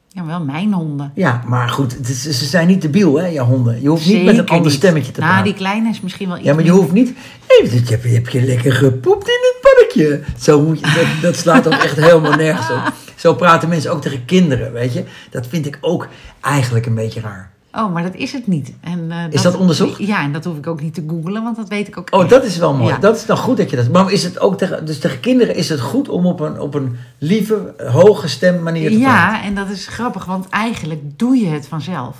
Speaker 2: Ja, wel mijn honden.
Speaker 1: Ja, maar goed, het is- ze zijn niet debiel, hè, je honden. Je hoeft niet met een
Speaker 2: Zeker
Speaker 1: ander
Speaker 2: niet.
Speaker 1: stemmetje te praten.
Speaker 2: Nou, die kleine is misschien wel iets
Speaker 1: Ja, maar je hoeft niet... Hey, je hebt, je hebt je lekker gepoept in het parkje. Zo moet je, dat, dat slaat ook echt helemaal nergens op. Zo praten mensen ook tegen kinderen, weet je. Dat vind ik ook eigenlijk een beetje raar.
Speaker 2: Oh, maar dat is het niet. En, eh,
Speaker 1: Is dat onderzocht?
Speaker 2: Ja, en dat hoef ik ook niet te googlen, want dat weet ik ook
Speaker 1: Oh,
Speaker 2: echt.
Speaker 1: dat is wel mooi.
Speaker 2: Ja.
Speaker 1: Dat is dan goed dat je dat... Maar is het ook tegen... Dus tegen kinderen is het goed om op een, op een lieve, hoge stem manier te praten?
Speaker 2: Ja, en dat is grappig, want eigenlijk doe je het vanzelf.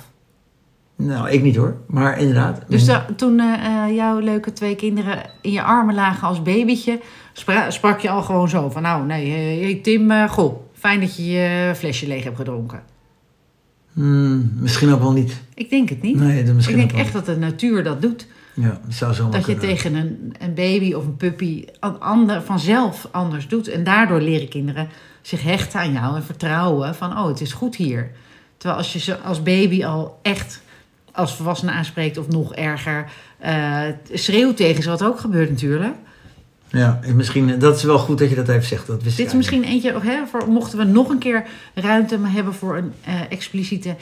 Speaker 1: Nou, ik niet hoor. Maar inderdaad.
Speaker 2: Dus da- toen eh, eh, jouw leuke twee kinderen in je armen lagen als babytje, spra- sprak je al gewoon zo van, nou nee, eh, hey, Tim, eh, goh, fijn dat je je flesje leeg hebt gedronken.
Speaker 1: Hmm, misschien ook wel niet.
Speaker 2: Ik denk het niet.
Speaker 1: Nee, dat
Speaker 2: ik
Speaker 1: misschien
Speaker 2: denk
Speaker 1: ook wel
Speaker 2: echt dat de natuur dat doet.
Speaker 1: niet. Ja, dat zou zomaar
Speaker 2: Dat je
Speaker 1: kunnen.
Speaker 2: tegen een, een baby of een puppy een ander, vanzelf anders doet. En daardoor leren kinderen zich hechten aan jou en vertrouwen van, oh, het is goed hier. Terwijl als je ze als baby al echt als volwassene aanspreekt of nog erger, eh schreeuwt tegen ze, wat ook gebeurt natuurlijk.
Speaker 1: Ja, en misschien... eh, Dat is wel goed dat je dat even zegt. Dat wist
Speaker 2: Dit
Speaker 1: ik
Speaker 2: is misschien eentje, oh, hè, voor, mochten we nog een keer ruimte hebben voor een eh, expliciete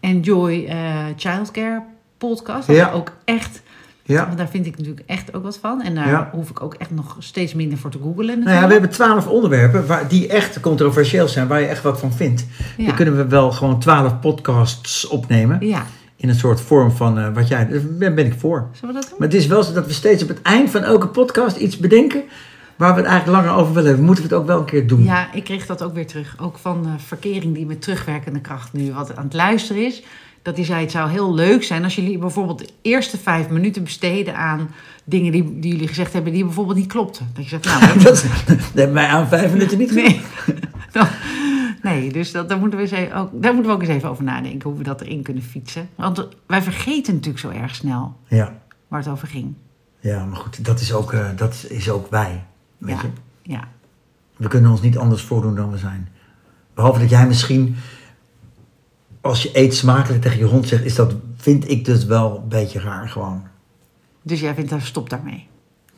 Speaker 2: Enjoy eh, Childcare podcast. Dat
Speaker 1: Ja.
Speaker 2: we ook echt
Speaker 1: eigenlijk. Ja.
Speaker 2: Want daar vind ik natuurlijk echt ook wat van. En daar
Speaker 1: Ja.
Speaker 2: hoef ik ook echt nog steeds minder voor te googlen.
Speaker 1: Nou ja,
Speaker 2: natuurlijk.
Speaker 1: we hebben twaalf onderwerpen waar, die echt controversieel zijn, waar je echt wat van vindt.
Speaker 2: Ja.
Speaker 1: Dan kunnen we wel gewoon twaalf podcasts opnemen.
Speaker 2: Ja,
Speaker 1: In een soort vorm van eh, wat jij. Daar ben ik voor.
Speaker 2: zullen we dat doen?
Speaker 1: Maar het is wel zo dat we steeds op het eind van elke podcast iets bedenken waar we het eigenlijk langer over willen hebben. Moeten we het ook wel een keer doen?
Speaker 2: Ja, ik kreeg dat ook weer terug. Ook van eh, verkering die met terugwerkende kracht nu wat aan het luisteren is. Dat die zei, het zou heel leuk zijn als jullie bijvoorbeeld de eerste vijf minuten besteden aan dingen die, die jullie gezegd hebben die bijvoorbeeld niet klopten. Dat je zegt, nou, dat-
Speaker 1: Dat, dat hebben wij aan vijf minuten niet gedaan.
Speaker 2: nee. Dan- nee, dus dat, daar, moeten we eens even, ook, daar moeten we ook eens even over nadenken hoe we dat erin kunnen fietsen. Want wij vergeten natuurlijk zo erg snel
Speaker 1: Ja,
Speaker 2: waar het over ging.
Speaker 1: ja, maar goed, dat is ook, eh, dat is ook wij. Weet
Speaker 2: Ja,
Speaker 1: je?
Speaker 2: ja.
Speaker 1: We kunnen ons niet anders voordoen dan we zijn. Behalve dat jij misschien, als je eet smakelijk tegen je hond zegt, is dat, vind ik dus wel een beetje raar gewoon.
Speaker 2: Dus jij vindt, daar stop daarmee.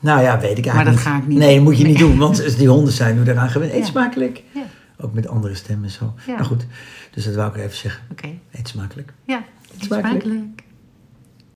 Speaker 1: Nou ja, weet ik eigenlijk
Speaker 2: Maar dat
Speaker 1: niet.
Speaker 2: ga ik niet
Speaker 1: Nee, moet je niet
Speaker 2: Nee.
Speaker 1: doen, want als die honden zijn nu daaraan gewend. Eet
Speaker 2: Ja.
Speaker 1: smakelijk.
Speaker 2: Ja, oké.
Speaker 1: Ook met andere stemmen en zo.
Speaker 2: Ja.
Speaker 1: Nou goed, dus dat wou ik even zeggen. Eet smakelijk.
Speaker 2: Ja,
Speaker 1: Smakelijk.
Speaker 2: smakelijk.